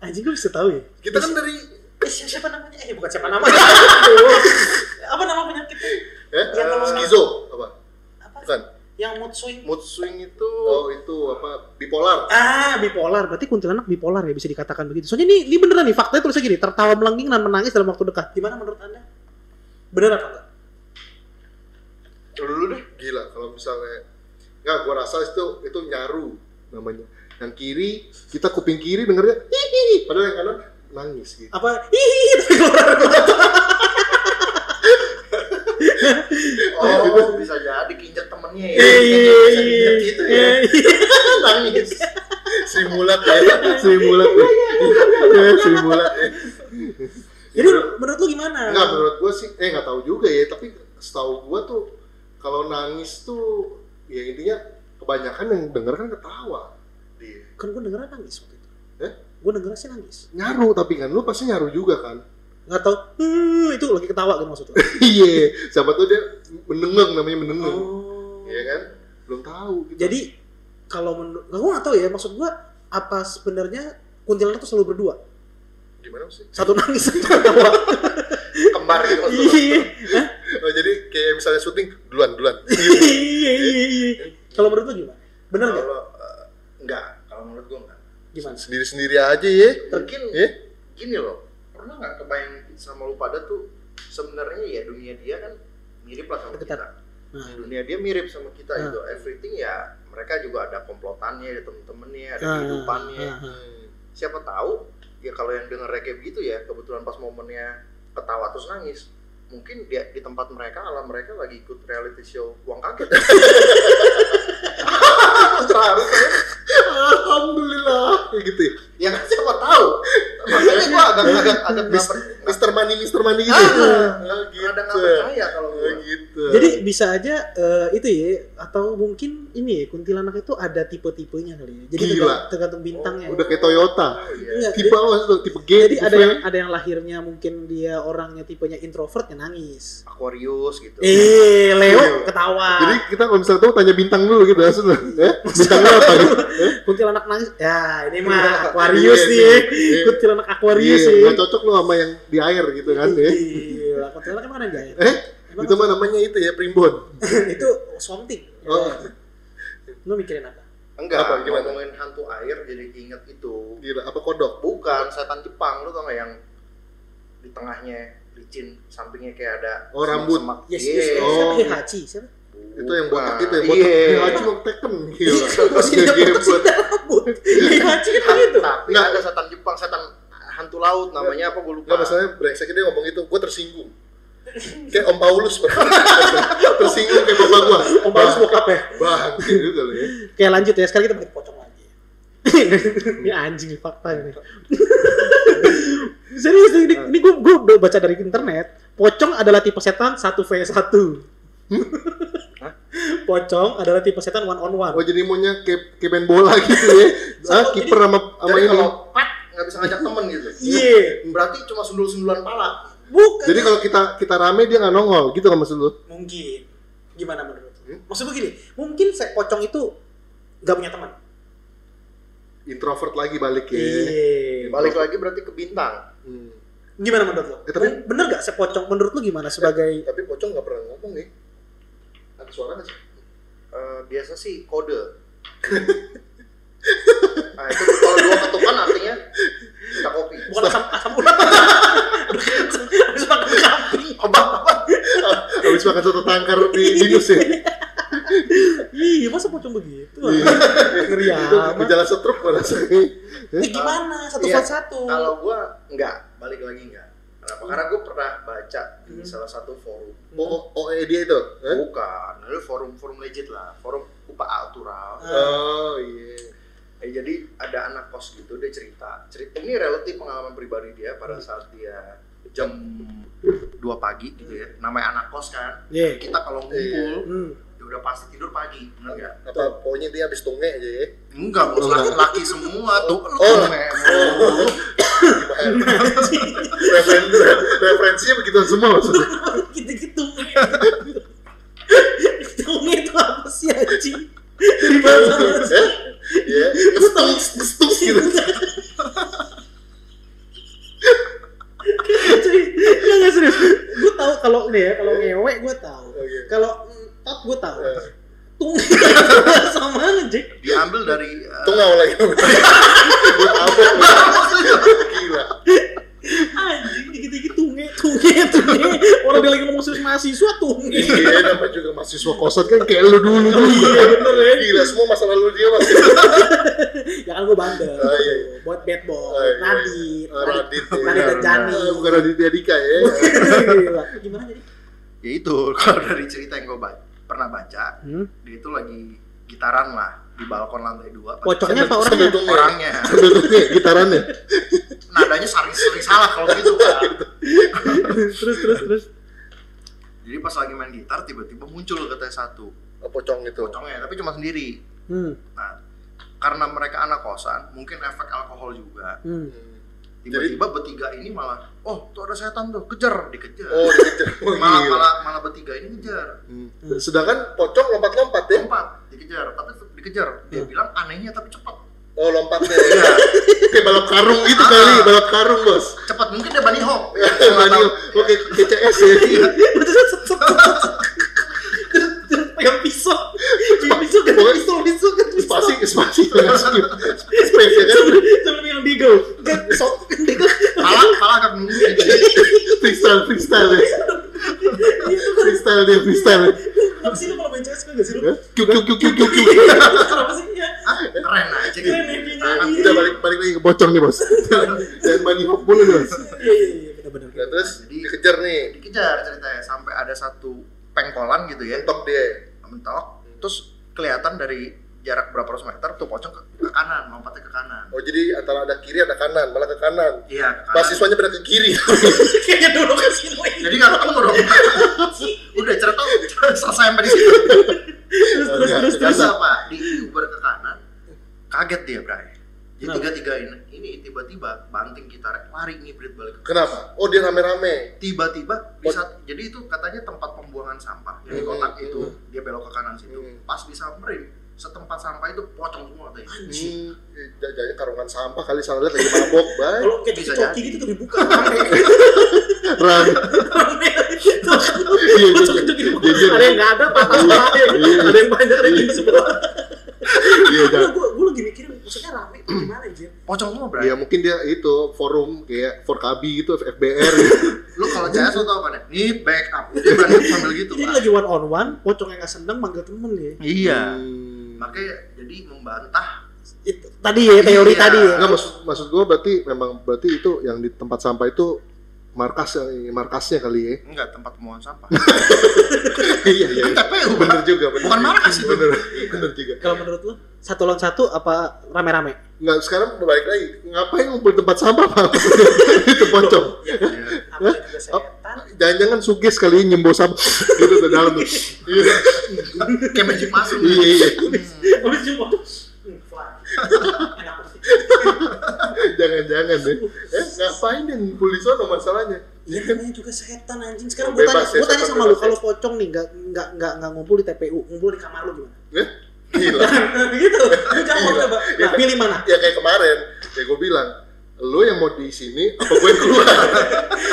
Speaker 2: Anjing gue bisa tahu ya.
Speaker 1: kita kan dari
Speaker 2: Eh, siapa, siapa namanya? Eh bukan siapa namanya. Aduh. apa nama penyakitnya?
Speaker 1: eh,
Speaker 2: Yang kalau-
Speaker 1: skizo apa
Speaker 2: Apa?
Speaker 1: bukan
Speaker 2: Yang mood swing.
Speaker 3: mood swing itu
Speaker 1: oh itu apa bipolar
Speaker 2: Ah, bipolar. Berarti kuntilanak bipolar ya bisa dikatakan begitu. Soalnya ini, ini beneran nih faktanya tulisnya gini, tertawa melengking dan menangis dalam waktu dekat. Gimana menurut Anda? Bener apa enggak?
Speaker 1: dulu deh gila kalau misalnya nggak gue rasa itu itu nyaru namanya yang kiri kita kuping kiri dengernya hihihi padahal yang kanan nangis gitu
Speaker 2: Apa hihihi tapi keluar dari mata.
Speaker 3: oh bisa jadi kinjek temennya ya
Speaker 2: Iya,
Speaker 3: bisa
Speaker 2: iya,
Speaker 3: diinjek gitu ya
Speaker 2: iya.
Speaker 1: nangis Sri Mulat ya Sri Mulat ya Ya, Sri Mulat ya
Speaker 2: Jadi menurut lu gimana?
Speaker 1: Enggak menurut gue sih, eh nggak tahu juga ya. Tapi setahu gue tuh kalau nangis tuh ya intinya kebanyakan yang denger kan ketawa. Dia
Speaker 2: Kan gue dengeran nangis waktu itu.
Speaker 1: Eh?
Speaker 2: Gue dengeran sih nangis.
Speaker 1: nyaru tapi kan lu pasti nyaru juga kan.
Speaker 2: Enggak tahu. "Hmm," itu lagi ketawa kan maksudnya.
Speaker 1: Iya, siapa tuh dia menengeng namanya menengeng.
Speaker 2: Oh.
Speaker 1: Iya kan? Belum tahu. gitu.
Speaker 2: Jadi kalau menurut gue nggak tahu ya maksud gue apa sebenarnya kuntilanak tuh selalu berdua
Speaker 1: gimana sih?
Speaker 2: satu nangis satu ketawa
Speaker 3: kembar gitu
Speaker 2: iya
Speaker 1: Oh, jadi kayak misalnya syuting duluan duluan.
Speaker 2: iya iya iya kalau menurut lu gimana bener nggak
Speaker 3: kalau eh, enggak kalau menurut gua enggak
Speaker 2: gimana
Speaker 1: Sendiri sendiri aja ya.
Speaker 3: mungkin
Speaker 1: Ya?
Speaker 3: gini loh pernah nggak kebayang sama lu pada tuh sebenarnya ya dunia dia kan mirip lah sama
Speaker 2: Deketan.
Speaker 3: kita
Speaker 2: nah
Speaker 3: dunia dia mirip sama kita
Speaker 1: Ah.
Speaker 2: Nah.
Speaker 3: itu everything ya mereka juga ada komplotannya ada temen-temennya ada
Speaker 1: Ah,
Speaker 2: nah,
Speaker 3: kehidupannya Hmm.
Speaker 2: nah, nah.
Speaker 3: siapa tahu ya kalau yang denger kayak begitu ya kebetulan pas momennya ketawa terus nangis mungkin dia di tempat mereka alam mereka lagi ikut reality show uang kaget seharusnya
Speaker 1: Alhamdulillah, kayak gitu ya.
Speaker 3: ya kan siapa tahu makanya gua
Speaker 1: Iya.
Speaker 3: agak-agak agak nggak
Speaker 1: Mister,
Speaker 3: per-
Speaker 1: Mister Money, Mister Money gitu.
Speaker 3: Ah,
Speaker 1: Ah,
Speaker 3: agak nggak percaya kalau
Speaker 1: Oh,
Speaker 3: gua
Speaker 1: gitu.
Speaker 2: Nah, jadi bisa aja eh, itu ya atau mungkin ini ya kuntilanak itu ada tipe-tipenya kali ya jadi
Speaker 1: Gila.
Speaker 2: tergantung, tergantung bintangnya
Speaker 1: udah kayak Toyota.
Speaker 3: Oh, iya.
Speaker 2: Iya,
Speaker 1: tipe apa sih tuh? Tipe G,
Speaker 2: jadi
Speaker 1: tipe
Speaker 2: ada
Speaker 1: V?
Speaker 2: yang ada yang lahirnya mungkin dia orangnya tipenya introvert ya nangis
Speaker 3: Aquarius gitu
Speaker 1: Iya.
Speaker 2: eh
Speaker 1: Leo.
Speaker 2: Leo ketawa
Speaker 1: Jadi kita kalau misalnya tahu tanya bintang dulu gitu langsung tuh. Eh, bintang lu apa gitu?
Speaker 2: kuntilanak nangis ya ini mah Aquarius nih kuntilanak
Speaker 1: Iya,
Speaker 2: Aquarius sih
Speaker 1: nggak cocok lu sama yang di air gitu kan ya.
Speaker 2: Gila, kuntilanak emang ada yang jahit?
Speaker 1: Eh,
Speaker 2: Emang
Speaker 1: itu mah namanya itu ya primbon.
Speaker 2: itu something.
Speaker 1: Oh.
Speaker 2: Lu mikirin apa?
Speaker 3: enggak
Speaker 1: Apa, gimana?
Speaker 3: ngomongin hantu air jadi inget itu
Speaker 1: Gila, apa kodok?
Speaker 3: bukan setan Jepang lu tau nggak yang di tengahnya licin sampingnya kayak ada
Speaker 1: Oh, rambut.
Speaker 3: semak-semak.
Speaker 2: Yes,
Speaker 3: Iya.
Speaker 2: yes, yes.
Speaker 1: Oh.
Speaker 2: Siapa? Hihachi, siapa?
Speaker 1: Itu yang botak
Speaker 3: Bukan.
Speaker 1: itu ya, botak.
Speaker 3: Iya.
Speaker 1: Yeah. Haji mau teken gitu.
Speaker 2: Masih dia botak sih dia rambut. Hihachi kan begitu.
Speaker 3: Tapi
Speaker 1: Nggak.
Speaker 3: ada setan Jepang, setan hantu laut namanya apa gue lupa.
Speaker 1: Enggak masalahnya brengseknya dia ngomong itu, gua tersinggung. Kayak Om Paulus tersinggung kayak bapak gua.
Speaker 2: Om Paulus bokap ya.
Speaker 1: Bang, gitu kali ya.
Speaker 2: Oke lanjut ya, sekarang kita balik pocong lagi. ini anjing nih fakta ini. Serius ini, ini gue gue baca dari internet, pocong adalah tipe setan 1v1.
Speaker 1: Hmm?
Speaker 2: Pocong adalah tipe setan one on one.
Speaker 1: Oh jadi maunya kayak kayak main bola gitu ya. Ah,
Speaker 2: Satu,
Speaker 1: kiper sama sama
Speaker 3: Jadi
Speaker 1: ini.
Speaker 3: kalau pat nggak bisa ngajak temen gitu.
Speaker 2: Iya,
Speaker 3: Berarti cuma sundul-sundulan pala.
Speaker 2: bukan.
Speaker 1: Jadi kalau kita kita rame dia nggak nongol gitu kan maksud lu?
Speaker 2: mungkin gimana menurut lu?
Speaker 1: Hmm?
Speaker 2: maksud gue gini mungkin se pocong itu nggak punya teman
Speaker 1: Introvert lagi balik ya.
Speaker 2: iya
Speaker 3: Balik lagi berarti ke bintang.
Speaker 1: Hmm.
Speaker 2: gimana menurut lo
Speaker 1: Eh, tapi-
Speaker 2: bener nggak se pocong menurut lu gimana sebagai
Speaker 1: Tapi pocong nggak pernah ngomong nih. Ada suara nggak sih?
Speaker 3: Eh, biasa sih kode. nah, itu kalau dua ketukan artinya kita kopi.
Speaker 2: bukan asam asam urat harus makan kambing
Speaker 1: Habis makan satu tangkar di binus ya.
Speaker 2: iya masa pocong begitu
Speaker 1: Iya.
Speaker 2: ngeri
Speaker 1: Itu
Speaker 2: amat
Speaker 1: gejala stroke gue rasa.
Speaker 2: Eh, gimana satu
Speaker 3: Iya.
Speaker 2: buat satu
Speaker 3: Kalau gua nggak, balik lagi nggak. Eh, Kenapa? Karena gue pernah baca di
Speaker 2: Hmm.
Speaker 3: salah satu forum.
Speaker 1: O OE dia itu? eh?
Speaker 2: Iya.
Speaker 3: Bukan, itu forum-forum legit lah, forum UPA Atural.
Speaker 1: Oh iya.
Speaker 3: Eh, jadi ada anak kos gitu dia cerita. Cerita ini relatif pengalaman pribadi dia pada saat dia jam 2 pagi gitu ya. Namanya anak kos kan.
Speaker 2: Iya.
Speaker 3: Kita kalau
Speaker 1: Iya.
Speaker 3: ngumpul
Speaker 2: Hmm.
Speaker 3: ya udah pasti tidur pagi, benar nggak?
Speaker 1: Apa pokoknya dia habis tunge aja ya?
Speaker 3: Enggak, bos
Speaker 1: Enggak.
Speaker 3: laki-laki semua tuh. Lu
Speaker 1: Oh.
Speaker 3: kan memo.
Speaker 2: Iya.
Speaker 1: Referen- Referensinya begitu semua maksudnya.
Speaker 2: Gitu-gitu. Hitungnya itu apa sih anjing?
Speaker 1: Jadi bahasa Indonesia, ya, kestung, kestung gitu.
Speaker 2: Cuy, nggak nggak serius. Gue tahu kalau ini ya,
Speaker 1: Iya.
Speaker 2: kalau ngewe gue tahu.
Speaker 1: Oke.
Speaker 2: Kalau entot gue tahu.
Speaker 1: Eh.
Speaker 2: Tung sama aja, Jack.
Speaker 3: Diambil dari eh,
Speaker 1: Tungau lagi. Buat apa? Gila.
Speaker 2: Anjing dikit-dikit tunge, tunge, tunge. Orang dia lagi ngomong serius mahasiswa tunge.
Speaker 1: Iya, nama juga mahasiswa kosan kan kayak lu dulu dulu.
Speaker 2: Iya, bener ya.
Speaker 1: Gila, semua masa lalu dia masih.
Speaker 2: Ya kan gue bandel.
Speaker 1: Oh, iya, iya.
Speaker 2: Buat bad boy,
Speaker 1: Oh, iya.
Speaker 2: Radit,
Speaker 1: Eh, Radit,
Speaker 2: Radit,
Speaker 1: iya.
Speaker 2: dan Jani.
Speaker 1: Eh, Bukan Radit Dika ya.
Speaker 2: Gila. Gimana jadi?
Speaker 3: ya itu kalau dari cerita yang gue ba- pernah baca
Speaker 1: Hmm?
Speaker 3: dia itu lagi gitaran lah di balkon lantai dua
Speaker 2: Pocongnya apa
Speaker 1: Sambil
Speaker 2: orangnya?
Speaker 1: tunge.
Speaker 3: orangnya
Speaker 1: Sambil tunge, gitarannya.
Speaker 3: nadanya sering-sering salah kalau gitu kan
Speaker 2: terus terus terus.
Speaker 3: jadi pas lagi main gitar tiba-tiba muncul katanya satu
Speaker 1: Pocong itu.
Speaker 3: pocongnya tapi cuma sendiri
Speaker 2: Hmm,
Speaker 3: nah karena mereka anak kosan mungkin efek alkohol juga
Speaker 2: hmm.
Speaker 3: tiba-tiba bertiga ini malah oh tuh ada setan tuh kejar dikejar
Speaker 1: Oh, dikejar. Oh,
Speaker 3: malah
Speaker 1: gila.
Speaker 3: malah malah bertiga ini kejar
Speaker 1: Hmm. Sedangkan pocong lompat-lompat ya.
Speaker 3: lompat dikejar tapi tetap dikejar dia
Speaker 2: Hmm.
Speaker 3: bilang anehnya tapi cepat
Speaker 1: Oh, lompatnya.
Speaker 3: Iya.
Speaker 1: Kayak balap karung gitu kali, balap karung, Bos.
Speaker 3: cepat mungkin dia bunny hop ya,
Speaker 1: Eh, Radio, oke KCS ya.
Speaker 2: Terus set, set, set, set, set. Terus pegang pisau. Pegang pisau kan pisau pisau kan pisau. iya
Speaker 1: Spasi, spasi, tengah skip. Space ya kan,
Speaker 2: Sambil sambil pegang beagle. Kan so beagle.
Speaker 3: malah malah agak nunggu gitu.
Speaker 1: freestyle, freestyle ya.
Speaker 2: Iya tuh kan.
Speaker 1: Freestyle dia, freestyle. ya.
Speaker 2: Kenapa sih lu kalau main CS kan gak sih lu?
Speaker 1: Hah? Kiu, kiu, kiu, kiu, kiu, kiu.
Speaker 2: Kenapa sih? Iya.
Speaker 3: Ah, keren aja gitu
Speaker 2: Keren endingnya.
Speaker 3: Ah,
Speaker 2: Iya.
Speaker 1: Udah balik, balik lagi ke pocong nih bos. Dan money hop dulu nih, bos.
Speaker 2: Iya iya iya benar
Speaker 1: Nah,
Speaker 2: benar.
Speaker 1: terus dikejar nih,
Speaker 3: dikejar ceritanya sampai ada satu pengkolan gitu ya
Speaker 1: mentok dia.
Speaker 3: mentok terus kelihatan dari jarak berapa ratus meter tuh pocong ke, ke kanan lompatnya ke kanan
Speaker 1: Oh jadi antara ada kiri ada kanan, malah ke kanan.
Speaker 3: iya ke kanan
Speaker 1: Mahasiswanya pada ke kiri.
Speaker 2: Kayaknya dulu kan ke sini.
Speaker 3: jadi nggak ketemu dong udah cerita selesai sampai di situ
Speaker 2: Terus terus terus terus.
Speaker 3: terus apa di Uber ke kanan kaget dia Bray jadi
Speaker 2: Kenapa?
Speaker 3: tiga tiga ini ini tiba-tiba banting gitar lari ngibrit balik ke
Speaker 1: Kenapa? Oh dia rame-rame.
Speaker 3: tiba-tiba di saat- jadi itu katanya tempat pembuangan sampah jadi
Speaker 1: Hmm,
Speaker 3: kotak
Speaker 1: hmm,
Speaker 3: itu dia belok ke kanan situ
Speaker 1: Hmm.
Speaker 3: pas disamperin setempat sampah itu pocong semua katanya
Speaker 2: Iya.
Speaker 3: anjing
Speaker 1: Hmm, jadi karungan sampah kali salah lihat lagi mabok, bye.
Speaker 2: Kalau kayak
Speaker 3: Bisa
Speaker 2: coki
Speaker 3: jadi.
Speaker 2: gitu tuh dibuka. Rame.
Speaker 1: Ran.
Speaker 2: Rame. Tuh,
Speaker 1: Iya, iya,
Speaker 2: coki tuh dibuka.
Speaker 1: iya, iya.
Speaker 2: Ada yang nggak ada patah patah. Ada yang banyak ada yang gini sebelah.
Speaker 1: Iya,
Speaker 2: Gue
Speaker 1: jangan.
Speaker 2: gue lagi mikirin maksudnya rame itu gimana anjir?
Speaker 3: pocong semua berarti
Speaker 1: Ya mungkin dia itu forum kayak Forkabi gitu, FBR gitu.
Speaker 3: lu kalau CS lu tau kan ya ini backup dia berani ngambil gitu
Speaker 2: Jadi
Speaker 3: kan
Speaker 2: lagi one on one, pocong yang gak seneng manggil temen ya.
Speaker 3: iya
Speaker 1: Hmm.
Speaker 3: makanya jadi membantah
Speaker 2: Itu, tadi ya teori
Speaker 3: Iya.
Speaker 2: tadi ya.
Speaker 1: Enggak maksud maksud gua berarti memang berarti itu yang di tempat sampah itu markas yang markasnya kali ya.
Speaker 3: enggak tempat pembuangan sampah
Speaker 1: iya, iya.
Speaker 3: TPU
Speaker 1: Bener juga, bener.
Speaker 3: Bukan markas itu.
Speaker 1: Bener, bener juga.
Speaker 2: Kalau menurut lu satu lawan satu apa rame-rame?
Speaker 1: Nggak, sekarang balik lagi. Ngapain ngumpul tempat sampah, Pak? itu pocong.
Speaker 3: Iya.
Speaker 1: Hah?
Speaker 2: juga
Speaker 1: Jangan-jangan suges kali ini nyembo sampah gitu ke dalam. tuh. Iya,
Speaker 3: kayak magic mushroom
Speaker 1: iya, iya.
Speaker 3: Hmm.
Speaker 2: Habis jumpa tuh. hmm, fly. Enak banget.
Speaker 1: Jangan-jangan deh. Eh, ngapain dia ngumpul di sana masalahnya?
Speaker 2: Iya namanya juga setan anjing. Sekarang gue tanya,
Speaker 1: Bebas ya,
Speaker 2: gue tanya
Speaker 1: setan
Speaker 2: sama lu
Speaker 1: bebas ya.
Speaker 2: kalau pocong nih nggak nggak nggak nggak ngumpul di TPU, ngumpul di kamar lu gimana?
Speaker 1: Eh, gila.
Speaker 2: gitu, lu jangan
Speaker 1: Iya.
Speaker 2: mau coba.
Speaker 1: Iya.
Speaker 2: Nah, pilih mana?
Speaker 1: ya kayak kemarin ya gue bilang lo yang mau di sini apa gue yang keluar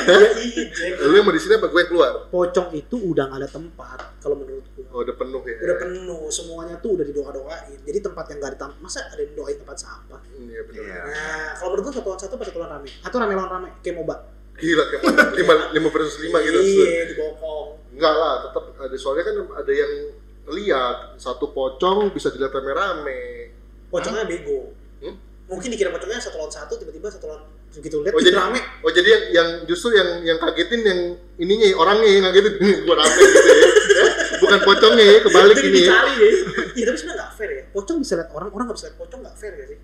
Speaker 2: Iya, iya, Jack.
Speaker 1: lo yang mau di sini apa gue yang keluar
Speaker 2: Pocong itu udah nggak ada tempat kalau menurut gue.
Speaker 1: oh udah penuh ya
Speaker 2: udah penuh semuanya tuh udah didoa-doain jadi tempat yang gak ada tam- masa ada yang doain tempat sampah
Speaker 1: Hmm, iya benar
Speaker 3: Iya.
Speaker 2: nah kalau menurut gua satu lawan satu pas satu lawan rame atau rame lawan rame kayak moba
Speaker 1: gila kayak mana? lima lima versus lima gitu
Speaker 2: iya dibokong
Speaker 1: enggak lah tetap ada soalnya kan ada yang lihat satu pocong bisa dilihat rame-rame
Speaker 2: pocongnya bego
Speaker 1: Hmm?
Speaker 2: mungkin dikira pocongnya satu lawan satu tiba-tiba satu lawan begitu lihat
Speaker 1: Oh,
Speaker 2: itu
Speaker 1: jadi-
Speaker 2: rame
Speaker 1: Oh jadi yang, yang justru yang yang kagetin yang ininya ya, orangnya yang kagetin gua rame gitu ya. Ya, Bukan pocongnya ya, kebalik
Speaker 2: itu
Speaker 1: ini ya.
Speaker 2: dicari ya iya tapi sebenarnya nggak fair ya pocong bisa lihat orang orang nggak bisa lihat pocong nggak fair ya sih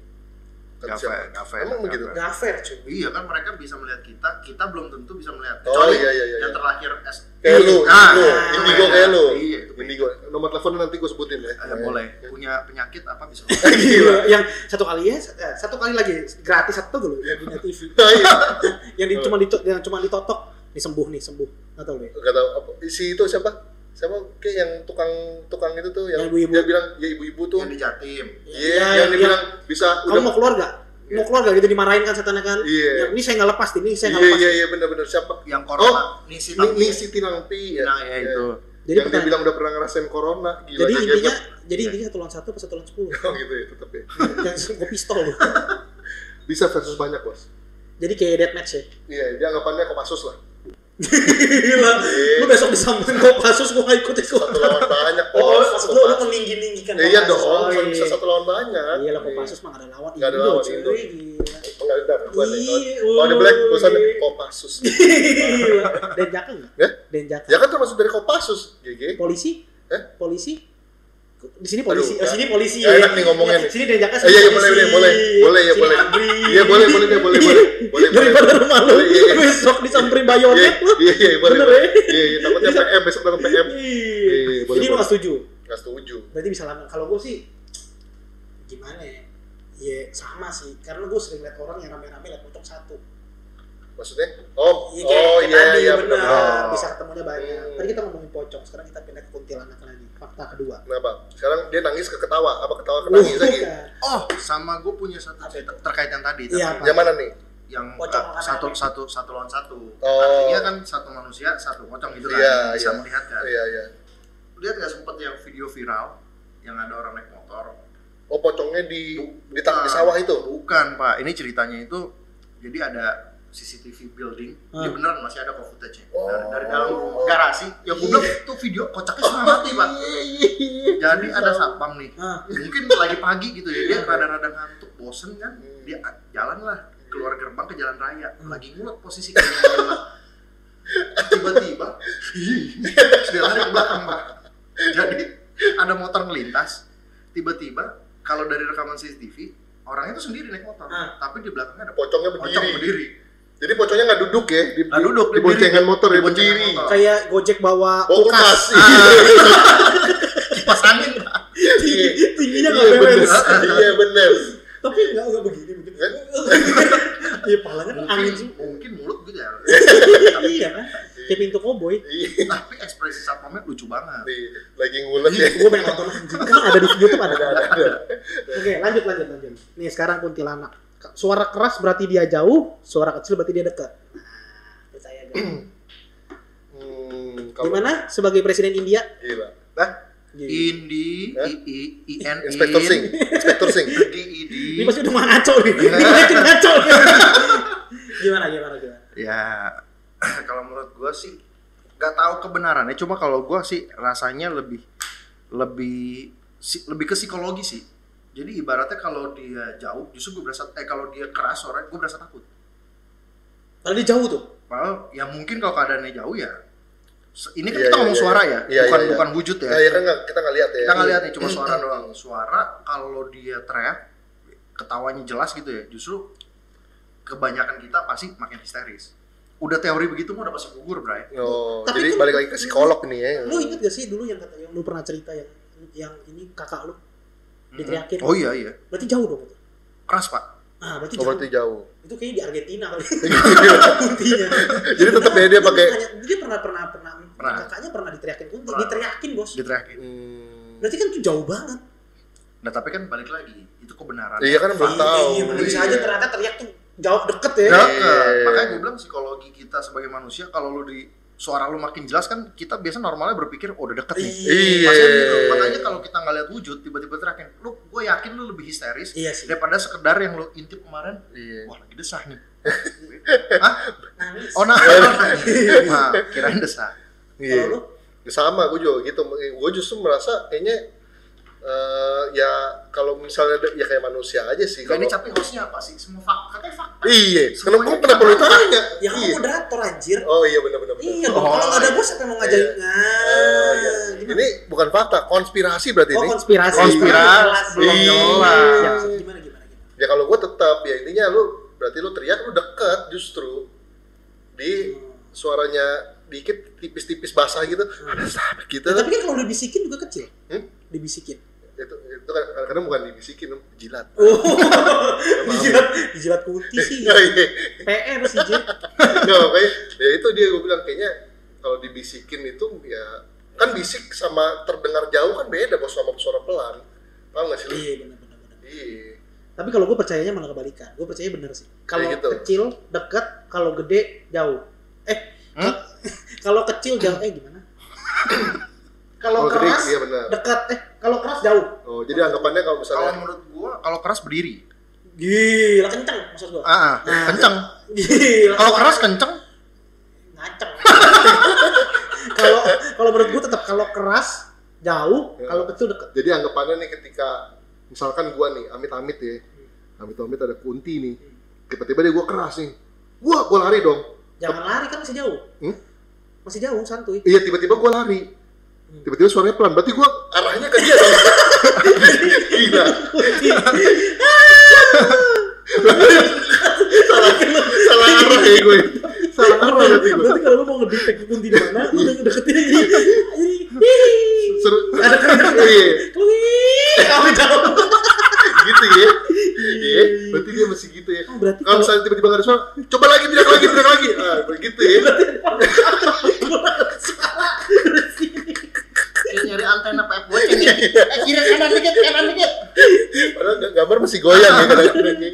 Speaker 3: Nggak fair, nggak fair,
Speaker 1: Emang
Speaker 3: nggak
Speaker 1: begitu.
Speaker 3: fair.
Speaker 2: nggak fair cuy
Speaker 3: Iya kan mereka bisa melihat kita, kita belum tentu bisa
Speaker 1: Oh,
Speaker 3: melihat. Kecuali
Speaker 1: iya, iya, iya.
Speaker 3: yang terakhir S.
Speaker 1: Kayak lu,
Speaker 3: Nah,
Speaker 1: indigo,
Speaker 2: nah,
Speaker 1: indigo kayak lu.
Speaker 3: Iya, itu
Speaker 1: Indigo. Nomor telepon nanti gua sebutin ya.
Speaker 3: Eh, boleh. Punya penyakit apa bisa?
Speaker 2: Gila. Iya, yang satu kali ya eh, satu kali lagi gratis satu dulu yang punya TV
Speaker 1: Nah, iya.
Speaker 2: yang di, cuma dito- yang cuma ditotok disembuh nih sembuh nggak tahu deh
Speaker 1: Gak tau apa si itu siapa? Siapa kayak yang tukang tukang itu tuh yang
Speaker 2: Yang ibu-ibu.
Speaker 1: dia bilang ya ibu-ibu tuh.
Speaker 3: yang di Jatim.
Speaker 1: Iya,
Speaker 2: Iya,
Speaker 1: yang
Speaker 2: iya.
Speaker 1: dibilang bisa
Speaker 2: kamu mau keluar nggak mau keluar nggak gitu dimarahin kan setannya kan
Speaker 1: Iya.
Speaker 2: yang ini saya nggak lepas ini saya nggak
Speaker 1: Iya
Speaker 2: lepas
Speaker 1: iya iya benar-benar siapa?
Speaker 3: Yang corona, Nisi
Speaker 1: Ini
Speaker 3: Tampi.
Speaker 1: ini Siti Nangpi ya.
Speaker 3: Nah, ya itu.
Speaker 2: jadi
Speaker 1: yang dia
Speaker 2: pertanyaan-
Speaker 1: bilang udah pernah ngerasain corona, gila Iya.
Speaker 2: jadi
Speaker 1: kagetan.
Speaker 2: intinya jadi intinya satu lawan satu pas satu lawan sepuluh
Speaker 1: Oh, gitu ya tetap ya.
Speaker 2: yang gue pistol loh
Speaker 1: Bisa versus banyak, Bos.
Speaker 2: jadi kayak dead match ya
Speaker 1: Iya, dia anggapannya kopasus lah.
Speaker 2: gila lu besok disambung kok kasus gue ikut
Speaker 1: Satu
Speaker 2: ikut
Speaker 1: lawan banyak.
Speaker 2: oh
Speaker 1: Bos.
Speaker 2: maksud lu lu meninggi ninggikan
Speaker 1: Iya dong, kan bisa satu lawan banyak.
Speaker 2: iya lah Kopassus mah nggak ada lawan
Speaker 1: Nggak ada
Speaker 2: Indo,
Speaker 1: lawan
Speaker 2: cuy.
Speaker 1: Indo.
Speaker 2: Gila.
Speaker 1: Enggak ada gua nih. Kalau-
Speaker 2: Iya,
Speaker 1: Kalau di black
Speaker 2: oh,
Speaker 1: tulisannya
Speaker 2: iya.
Speaker 1: Kopassus.
Speaker 2: Gila. Dan Jaka nggak?
Speaker 1: Ya?
Speaker 2: Dan Jaka.
Speaker 1: Ya kan termasuk dari Kopassus, GG.
Speaker 2: Polisi?
Speaker 1: Eh?
Speaker 2: Polisi? Di sini polisi,
Speaker 1: Aduh,
Speaker 2: eh, sini polisi
Speaker 1: nggak enak nih ngomongnya nih.
Speaker 2: Di Sini Dan Jaka
Speaker 1: Eh, iya, iya, boleh, boleh, boleh. Boleh, iya,
Speaker 2: Sini
Speaker 1: boleh.
Speaker 2: Andri.
Speaker 1: Iya, boleh, boleh, dia boleh, boleh. Boleh, boleh.
Speaker 2: Daripada rumah lu,
Speaker 1: Boleh, iya, iya.
Speaker 2: besok disamperin
Speaker 1: Iya,
Speaker 2: bayonet lu.
Speaker 1: iya, iya, boleh.
Speaker 2: Bener,
Speaker 1: boleh.
Speaker 2: ya?
Speaker 1: Iya, iya, takutnya PM besok datang PM.
Speaker 2: Iya,
Speaker 1: iya, boleh,
Speaker 2: Jadi lu
Speaker 1: boleh.
Speaker 2: nggak setuju?
Speaker 1: Enggak setuju.
Speaker 2: Berarti bisa lama. Kalau gue sih, gimana ya? Ya sama sih, karena gue sering lihat orang yang rame-rame lihat pocong satu.
Speaker 1: Maksudnya? Oh,
Speaker 2: Iya, kayak-
Speaker 1: oh
Speaker 2: kayak
Speaker 1: iya,
Speaker 2: tadi,
Speaker 1: iya,
Speaker 2: benar.
Speaker 1: benar.
Speaker 3: benar.
Speaker 2: Bisa ketemunya banyak.
Speaker 1: Hmm.
Speaker 2: Tadi kita ngomongin pocong, sekarang kita pindah ke kuntilanak lagi. Fakta kedua. Iya.
Speaker 1: Kenapa? Sekarang dia nangis ke ketawa, apa ketawa ke nangis lagi?
Speaker 2: bukan.
Speaker 3: Oh, sama gue punya satu cerita terkait yang tadi. tapi
Speaker 2: Iya, apa?
Speaker 1: Yang mana nih?
Speaker 3: yang
Speaker 2: Pocong
Speaker 3: eh,
Speaker 2: lawan
Speaker 3: satu,
Speaker 2: anak.
Speaker 3: satu satu lawan satu.
Speaker 1: Oh.
Speaker 3: Artinya kan satu manusia satu pocong gitu kan.
Speaker 1: Iya,
Speaker 3: bisa
Speaker 1: iya.
Speaker 3: melihat kan.
Speaker 1: Iya, iya.
Speaker 3: Lihat nggak sempet yang video viral yang ada orang naik motor.
Speaker 1: Oh, pocongnya di di,
Speaker 3: Bukan.
Speaker 1: tang- di sawah itu.
Speaker 3: Bukan pak, ini ceritanya itu jadi ada CCTV building, ini
Speaker 2: Hmm.
Speaker 3: beneran masih ada kok footage-nya
Speaker 1: Oh. Iya.
Speaker 3: dari, dari dalam garasi. Ya gue bilang itu video kocaknya setengah mati pak. Jadi ada satpam nih,
Speaker 2: Ah,
Speaker 3: mungkin lagi pagi gitu ya
Speaker 2: Iya.
Speaker 3: dia rada-rada ngantuk, bosen kan,
Speaker 1: Hmm.
Speaker 3: dia a- jalan lah keluar gerbang ke jalan raya,
Speaker 2: Hmm.
Speaker 3: lagi ngulek posisi ke jalan raya. tiba-tiba, ih, terus dia lari ke belakang pak. Jadi ada motor melintas, tiba-tiba kalau dari rekaman CCTV orangnya itu sendiri naik motor,
Speaker 2: Ah.
Speaker 3: tapi di belakangnya ada
Speaker 1: Pocongnya
Speaker 3: pocong
Speaker 1: berdiri.
Speaker 3: berdiri.
Speaker 1: Jadi pocongnya nggak duduk ya? Di,
Speaker 3: Nggak duduk,
Speaker 1: Di
Speaker 3: berdiri.
Speaker 1: boncengan motor ya
Speaker 3: Di boncengan
Speaker 1: berdiri.
Speaker 3: motor.
Speaker 2: kayak Gojek bawa
Speaker 1: Oh, kulkas.
Speaker 2: kulkas.
Speaker 3: Kipas angin pak.
Speaker 2: Tinggi, tingginya
Speaker 1: Iya
Speaker 2: nggak
Speaker 1: bener.
Speaker 2: beres.
Speaker 1: Iya bener.
Speaker 2: Tapi nggak nggak begini begini.
Speaker 1: Eh?
Speaker 2: Iya, palanya kan
Speaker 3: Mungkin,
Speaker 2: angin semua.
Speaker 3: mungkin mulut gitu ya.
Speaker 2: Iya kan? Kayak pintu koboi.
Speaker 1: Iya.
Speaker 3: tapi ekspresi satpamnya lucu banget.
Speaker 1: Nih, Lagi ngulek ya.
Speaker 2: Gue pengen nonton anjing. Kan ada di YouTube ada.
Speaker 1: Ada, ada, ada.
Speaker 2: Oke, lanjut lanjut lanjut. Nih sekarang kuntilanak. Suara keras berarti dia jauh, suara kecil berarti dia dekat. Nah, percaya gue.
Speaker 1: Hmm, kalau-
Speaker 2: Gimana sebagai presiden India?
Speaker 1: Gila.
Speaker 2: Gini.
Speaker 3: Indi,
Speaker 1: Hah?
Speaker 3: i i i n
Speaker 1: Inspektur Sing. Inspektur Sing.
Speaker 3: di
Speaker 2: Ini pasti udah mau ngaco nih. Ini makin ngaco. nih. gimana gimana gimana?
Speaker 3: ya kalau menurut gua sih nggak tahu kebenarannya cuma kalau gua sih rasanya lebih lebih si- lebih ke psikologi sih jadi ibaratnya kalau dia jauh justru gue berasa eh kalau dia keras orangnya gue berasa takut
Speaker 2: Padahal dia jauh tuh.
Speaker 3: padahal ya mungkin kalau keadaannya jauh ya se- ini kan
Speaker 1: Iya,
Speaker 3: kita
Speaker 1: iya,
Speaker 3: ngomong
Speaker 1: iya,
Speaker 3: suara
Speaker 1: iya.
Speaker 3: ya
Speaker 1: Iya,
Speaker 3: bukan
Speaker 1: iya, iya.
Speaker 3: bukan wujud ya
Speaker 1: Nah, ya kan nggak kita nggak lihat ya.
Speaker 3: kita nggak lihat nih cuma suara doang suara kalau dia teriak ketawanya jelas gitu ya justru kebanyakan kita pasti makin histeris udah teori begitu mah udah pasti gugur bray
Speaker 1: Oh,
Speaker 2: Tapi
Speaker 1: jadi
Speaker 2: kan-
Speaker 1: balik lagi ke psikolog nih ya.
Speaker 2: Lu inget gak sih dulu yang kata yang lu pernah cerita yang yang ini kakak lu diteriakin?
Speaker 3: Oh iya iya.
Speaker 2: Berarti jauh dong. itu.
Speaker 3: Keras pak.
Speaker 2: Ah, berarti
Speaker 1: Oh,
Speaker 2: jauh.
Speaker 1: berarti jauh.
Speaker 2: Itu kayaknya di Argentina kali.
Speaker 1: Gila.
Speaker 2: Kuntinya.
Speaker 1: Jadi tetap ya dia pakai
Speaker 2: Iya. Dia pernah pernah pernah,
Speaker 3: Pernah.
Speaker 2: kakaknya pernah diteriakin kunti,
Speaker 3: Pernah.
Speaker 2: diteriakin bos.
Speaker 3: Diteriakin.
Speaker 1: Hmm.
Speaker 2: Berarti kan itu jauh banget.
Speaker 3: Nah tapi kan balik lagi itu kebenaran.
Speaker 1: Iya kan belum tahu.
Speaker 2: Iya, bener. bisa
Speaker 1: Iya.
Speaker 2: aja ternyata teriak tuh jauh deket ya.
Speaker 3: Ya,
Speaker 1: Iya.
Speaker 3: ke- Makanya gue bilang psikologi kita sebagai manusia kalau lu di suara lu makin jelas kan kita biasa normalnya berpikir oh udah deket nih.
Speaker 1: Iya.
Speaker 3: Maksudnya gitu. Makanya kalau kita nggak lihat wujud tiba-tiba teriakin, lu gue yakin lu lebih histeris
Speaker 2: Iya sih.
Speaker 3: daripada sekedar yang lu intip kemarin.
Speaker 1: Iya.
Speaker 3: Wah lagi desah nih.
Speaker 2: Nangis.
Speaker 3: Oh nah, nah kirain desah.
Speaker 2: Kalau
Speaker 1: Iya.
Speaker 2: lu
Speaker 1: Ya sama gue juga gitu gue justru merasa kayaknya eh, ya kalau misalnya ada- ya kayak manusia aja sih
Speaker 2: Nah,
Speaker 3: Gak
Speaker 1: kalau
Speaker 3: ini tapi hostnya apa sih? Semua fakta, katanya fakta.
Speaker 1: iya kenapa gua kenapa lu tanya
Speaker 2: Ya kan
Speaker 1: iya.
Speaker 2: moderator anjir.
Speaker 1: oh iya benar benar
Speaker 2: Iya
Speaker 1: benar.
Speaker 2: dong, kalau nggak ada
Speaker 3: iya.
Speaker 2: gue siapa yang mau ngajarin?
Speaker 1: Iya.
Speaker 2: Nah,
Speaker 1: iya.
Speaker 2: gimana?
Speaker 1: ini bukan fakta konspirasi berarti
Speaker 2: Oh
Speaker 1: ini
Speaker 2: konspirasi.
Speaker 1: Konspirasi.
Speaker 2: Belum jelas.
Speaker 1: Iya.
Speaker 2: Siap, siap. Gimana gimana gimana?
Speaker 1: ya kalau gue tetap ya intinya lu berarti lu teriak lu deket justru di suaranya dikit tipis-tipis basah gitu ada sahabat gitu
Speaker 2: Ya, tapi kan kalau dibisikin juga kecil.
Speaker 1: Hmm?
Speaker 2: Dibisikin.
Speaker 1: itu itu kan kadang bukan dibisikin jilat
Speaker 2: Oh, dijilat, dijilat kunti sih.
Speaker 1: Iya, iya.
Speaker 2: PR sih, Jir.
Speaker 1: Nggak, makanya ya itu dia gue bilang kayaknya kalau dibisikin itu ya kan bisik sama terdengar jauh kan beda bos sama suara pelan paham nggak sih lu?
Speaker 2: Iya, benar-benar.
Speaker 1: Iya.
Speaker 2: Tapi kalau gue percayanya malah kebalikan. Gue percaya bener sih. Kalau
Speaker 1: Ya gitu.
Speaker 2: kecil dekat, kalau gede jauh. Eh,
Speaker 3: Hmm?
Speaker 2: kalau kecil jauh. Eh gimana?
Speaker 1: Oh,
Speaker 2: kalau
Speaker 1: gede,
Speaker 2: keras
Speaker 1: iya benar.
Speaker 2: dekat. Eh, kalau keras jauh.
Speaker 1: Oh, jadi anggapannya kalau
Speaker 3: Kalau
Speaker 1: misalnya
Speaker 3: menurut gua, kalau keras berdiri.
Speaker 2: Gila kenceng maksud gue.
Speaker 3: Ah, ah,
Speaker 2: Nah.
Speaker 3: kenceng.
Speaker 2: Gila.
Speaker 3: Kalau keras kenceng,
Speaker 2: ngaceng. Kalau kalau menurut gue tetap kalau keras jauh,
Speaker 1: Ya.
Speaker 2: kalau kecil dekat.
Speaker 1: jadi anggapannya nih ketika misalkan gua nih amit-amit ya amit-amit ada kunti nih tiba-tiba dia gua keras nih gua gua lari dong
Speaker 2: Jangan lari kan masih jauh.
Speaker 1: Hmm?
Speaker 2: Masih jauh santuy.
Speaker 1: iya tiba-tiba gua lari
Speaker 2: Hmm.
Speaker 1: tiba-tiba suaranya pelan berarti gua arahnya ke dia dong gila salah salah arah ya gue salah arah berarti gue
Speaker 2: Berarti kalau lu mau ngedetect kunti di mana, lu udah ngedeketin aja. Jadi, hihi.
Speaker 1: seru
Speaker 2: Ada keren.
Speaker 1: iya
Speaker 2: Kalau hihi, kalau jauh.
Speaker 1: gitu ya iya berarti dia masih gitu ya
Speaker 2: Oh, Berarti
Speaker 1: kalau
Speaker 2: kalau
Speaker 1: misalnya tiba-tiba nggak ada suara coba lagi tidak lagi tidak lagi ah begitu ya
Speaker 3: kayak nyari antena PF goceng ya. Eh, kiri kanan dikit, kanan dikit.
Speaker 1: padahal gambar masih goyang ya kadang-kadang ya.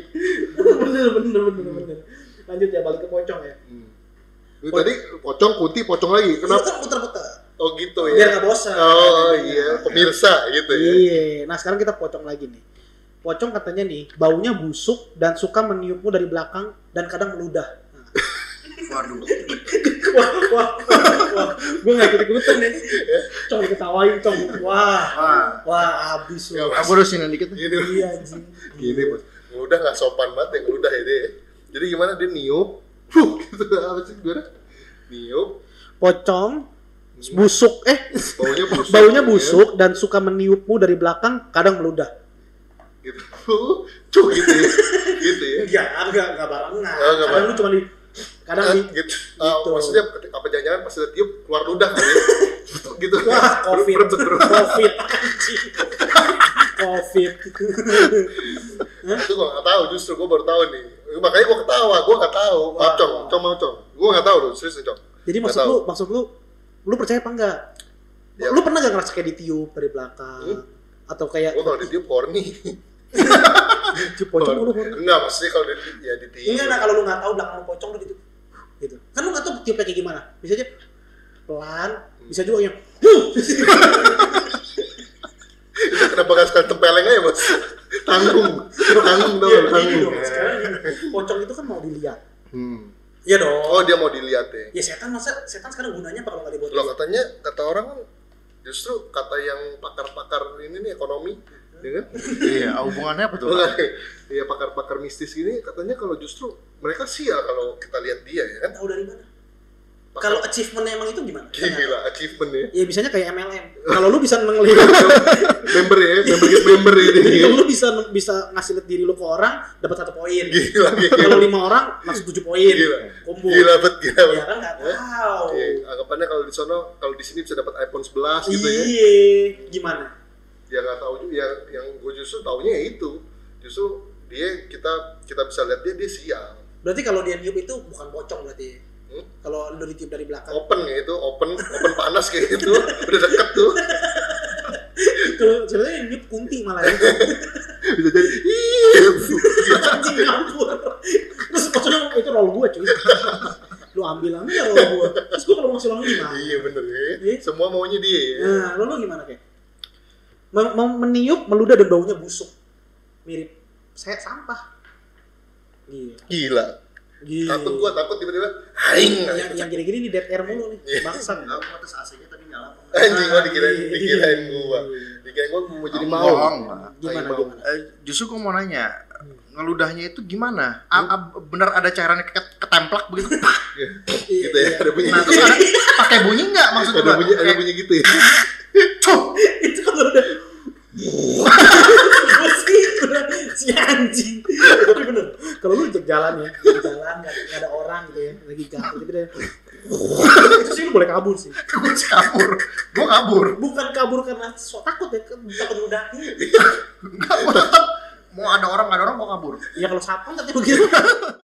Speaker 2: bener bener bener bener. Lanjut ya balik ke pocong ya.
Speaker 1: Hmm. Itu tadi pocong kunti pocong lagi kenapa
Speaker 2: Itu Puter-puter.
Speaker 1: oh gitu
Speaker 2: Biar
Speaker 1: ya
Speaker 2: nggak bosan.
Speaker 1: oh iya pemirsa gitu ya
Speaker 2: Iya. Nah sekarang kita pocong lagi nih. Pocong katanya nih baunya busuk dan suka meniupmu dari belakang dan kadang meludah. Nah.
Speaker 3: Waduh.
Speaker 2: wah, wah, wah, wah. gue nggak ikut ikutan nih. Ya, Cong diketawain cong. Wah,
Speaker 3: Ah,
Speaker 2: wah abis
Speaker 1: Nggak
Speaker 2: lu.
Speaker 3: aku Ah, udah sini dikit.
Speaker 1: Ya, Gini,
Speaker 2: Iya anjing.
Speaker 1: gini bos. Ngeludah nggak sopan banget ya ngeludah ya deh. Jadi gimana dia niup, huh, gitu apa sih gue? Niup,
Speaker 2: Pocong busuk eh
Speaker 1: baunya busuk. gitu
Speaker 2: baunya busuk dan suka meniupmu dari belakang kadang meludah.
Speaker 1: Ya, gitu, huh, cuk gitu ya, gitu ya.
Speaker 2: Enggak, enggak, enggak barengan.
Speaker 1: Oh, nggak
Speaker 2: Kadang lu cuma di kadang
Speaker 1: Ah,
Speaker 2: di
Speaker 1: gitu. Ah,
Speaker 2: Gitu.
Speaker 1: maksudnya apa jangan-jangan pas udah tiup keluar ludah kali ya? gitu.
Speaker 2: Wah, covid,
Speaker 1: Berebet, berebet.
Speaker 2: covid, anjing. covid.
Speaker 1: Itu gue nggak tahu, justru gue baru tahu nih. Makanya gue ketawa, gue nggak tahu. Maaf cong,
Speaker 2: wah. Eh,
Speaker 1: cong, maaf cong. Gue nggak tahu loh, serius nih, cong.
Speaker 2: Jadi
Speaker 1: Nggak
Speaker 2: maksud
Speaker 1: tahu.
Speaker 2: lu, maksud lu, lu percaya apa enggak?
Speaker 1: Ya.
Speaker 2: Lu pernah gak ngerasa kayak ditiup dari belakang?
Speaker 1: Hmm.
Speaker 2: Atau kayak
Speaker 1: Gue kalau ditiup horny.
Speaker 2: di pocong lu horor?
Speaker 1: Enggak, maksudnya kalau ditiup, ya ditiup.
Speaker 2: Enggak, nah kalau lu nggak tahu belakang lu pocong lu gitu. Gitu. Kan lu nggak tahu tiupnya kayak gimana. Bisa aja pelan, bisa juga yang "Huh!"
Speaker 1: Kenapa gak sekali tempeleng aja bos? Tanggung, tanggung tau
Speaker 2: Iya,
Speaker 1: gak?
Speaker 2: gini
Speaker 1: tanggung.
Speaker 2: dong. Sekarang gini. Pocong itu kan mau dilihat.
Speaker 1: Hmm.
Speaker 2: Iya dong.
Speaker 1: Oh dia mau dilihat ya?
Speaker 2: Ya setan masa setan sekarang gunanya apa kalau nggak dibuat?
Speaker 1: Loh katanya, kata orang kan justru kata yang pakar-pakar ini nih ekonomi, ya kan?
Speaker 3: Iya, hubungannya apa tuh?
Speaker 1: Tuh, Iya pakar-pakar mistis ini katanya kalau justru mereka sial kalau kita lihat dia ya kan?
Speaker 2: Tahu dari mana?
Speaker 1: Pakar-
Speaker 2: Kalau achievementnya emang itu gimana?
Speaker 1: gila achievement ya.
Speaker 2: ya biasanya kayak MLM. Kalau lu bisa ngelihat,
Speaker 1: member ya, member member ini.
Speaker 2: kalau lu bisa bisa ngasih lihat diri lu ke orang, dapat satu poin.
Speaker 1: Gila, gila,
Speaker 2: Kalau lima orang, maksud tujuh poin.
Speaker 1: Gila.
Speaker 2: Combo.
Speaker 1: gila bet, gila
Speaker 2: Ya
Speaker 1: bet.
Speaker 2: kan nggak tahu.
Speaker 1: Iya, anggapannya kalau di sono, kalau di sini bisa dapat iPhone 11 gitu ya.
Speaker 2: Iya, gimana?
Speaker 1: ya nggak tahu juga yang yang gue justru taunya ya itu justru dia kita kita bisa lihat dia dia sial
Speaker 2: Berarti kalau dia niup itu bukan pocong berarti. ya?
Speaker 1: Hmm?
Speaker 2: Kalau lu ditiup dari belakang.
Speaker 1: open ya itu open open panas kayak gitu udah deket tuh
Speaker 2: Kalau sebenarnya yang niup kunti malah ya.
Speaker 1: bisa jadi "Ih, bu."
Speaker 2: Anjing nyampur. Terus pocongnya itu roll gua cuy. Lu ambil aja roll gua. Terus gua kalau masuk lagi gimana?
Speaker 1: iya bener
Speaker 2: Iya.
Speaker 1: ya semua maunya dia ya.
Speaker 3: Iya.
Speaker 2: Nah, lo, lo gimana kayak? Me- me- meniup, meludah dan baunya busuk. Mirip saya sampah. Iya, Gila.
Speaker 1: gila
Speaker 2: Gila.
Speaker 3: Iya.
Speaker 1: takut gua takut tiba-tiba aing
Speaker 2: Yang yang gini-gini di dead air mulu nih,
Speaker 1: Iya.
Speaker 2: bangsa. Iya.
Speaker 3: Aku atas AC-nya tadi
Speaker 4: meninggal
Speaker 3: nyala.
Speaker 4: apa enggak.
Speaker 1: Anjing gua dikirain dikirain gua. Dikirain gua mau jadi
Speaker 3: Kamu
Speaker 1: mau.
Speaker 3: bohong, Ma.
Speaker 2: Gimana,
Speaker 1: Mau.
Speaker 2: gimana?
Speaker 3: Eh, justru gue mau nanya ngeludahnya itu gimana? A- a- bener ada cairan yang ke- ketemplak begitu?
Speaker 1: Gitu ya, ada bunyi
Speaker 3: Nah,
Speaker 1: gitu.
Speaker 3: terus
Speaker 1: ya.
Speaker 3: ada, pakai bunyi nggak maksud
Speaker 1: Ada
Speaker 3: gua?
Speaker 1: bunyi ada
Speaker 3: Kayak,
Speaker 1: bunyi gitu ya.
Speaker 3: "Cuh!"
Speaker 2: itu kalau udah gue sih udah si anjing tapi bener kalau lu di jalan ya di jalan nggak nggak ada orang gitu ya lagi jatuh gitu ya itu sih lu boleh kabur sih
Speaker 3: Gua kabur, gue kabur.
Speaker 2: bukan kabur karena so takut ya takut mudahnya
Speaker 3: Enggak, gue tetap mau ada orang nggak ada orang gue kabur.
Speaker 2: Iya, ya kalau satpam tapi begitu